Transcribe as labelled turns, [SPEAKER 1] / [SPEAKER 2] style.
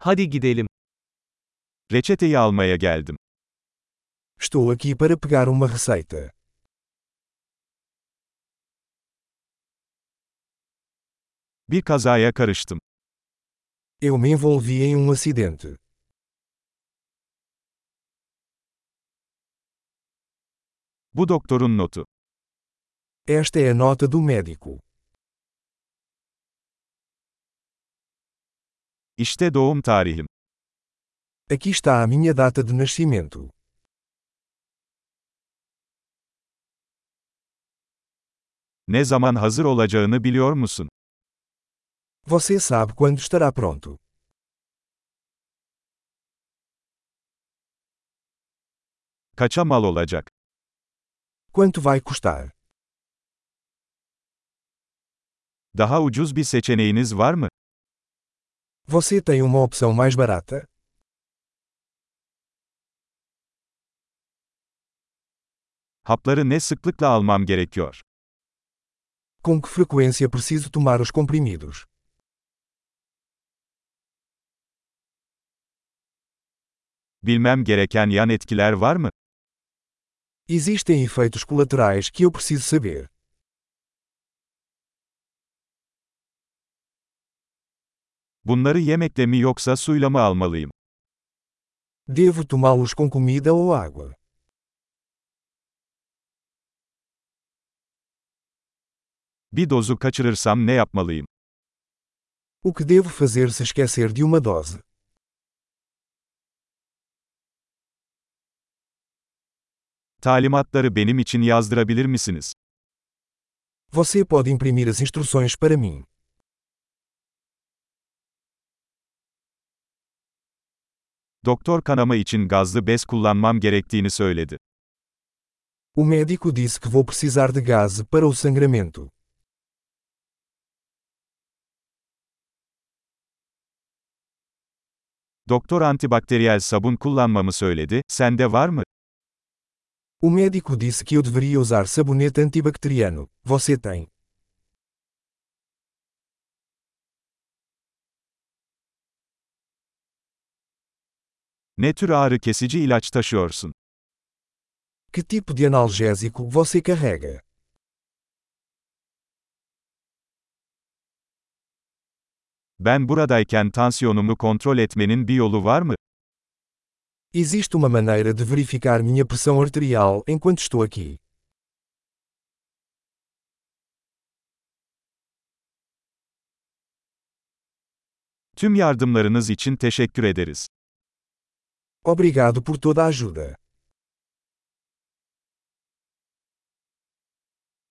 [SPEAKER 1] Hadi gidelim. Reçeteyi almaya geldim.
[SPEAKER 2] Estou aqui para pegar uma receita.
[SPEAKER 1] Bir kazaya karıştım.
[SPEAKER 2] Eu me envolvi em um acidente.
[SPEAKER 1] Bu doktorun notu.
[SPEAKER 2] Esta é a nota do médico.
[SPEAKER 1] İşte doğum tarihim.
[SPEAKER 2] Aqui está a minha data de nascimento.
[SPEAKER 1] Ne zaman hazır olacağını biliyor musun?
[SPEAKER 2] Você sabe quando estará pronto.
[SPEAKER 1] Kaça mal olacak?
[SPEAKER 2] Quanto vai custar?
[SPEAKER 1] Daha ucuz bir seçeneğiniz var mı?
[SPEAKER 2] Você tem uma opção mais barata?
[SPEAKER 1] Hapları ne sıklıkla almam gerekiyor?
[SPEAKER 2] Com que frequência preciso tomar os comprimidos?
[SPEAKER 1] Bilmem gereken yan etkiler var mı?
[SPEAKER 2] Existem efeitos colaterais que eu preciso saber.
[SPEAKER 1] Bunları yemekle mi yoksa suyla mı almalıyım?
[SPEAKER 2] Devo tomá-los com comida ou água?
[SPEAKER 1] Bir dozu kaçırırsam ne yapmalıyım?
[SPEAKER 2] O que devo fazer se esquecer de uma dose?
[SPEAKER 1] Talimatları benim için yazdırabilir misiniz?
[SPEAKER 2] Você pode imprimir as instruções para mim.
[SPEAKER 1] Doktor kanama için gazlı bez kullanmam gerektiğini söyledi.
[SPEAKER 2] O médico disse que vou precisar de gás para o sangramento.
[SPEAKER 1] Doktor antibakteriyel sabun kullanmamı söyledi, sende var mı?
[SPEAKER 2] O médico disse que eu deveria usar sabonete antibacteriano. Você tem?
[SPEAKER 1] Ne tür ağrı kesici ilaç taşıyorsun?
[SPEAKER 2] Que tipo de analgésico você carrega?
[SPEAKER 1] Ben buradayken tansiyonumu kontrol etmenin bir yolu var mı?
[SPEAKER 2] Existe uma maneira de verificar minha pressão arterial enquanto estou aqui.
[SPEAKER 1] Tüm yardımlarınız için teşekkür ederiz.
[SPEAKER 2] Obrigado por toda a ajuda.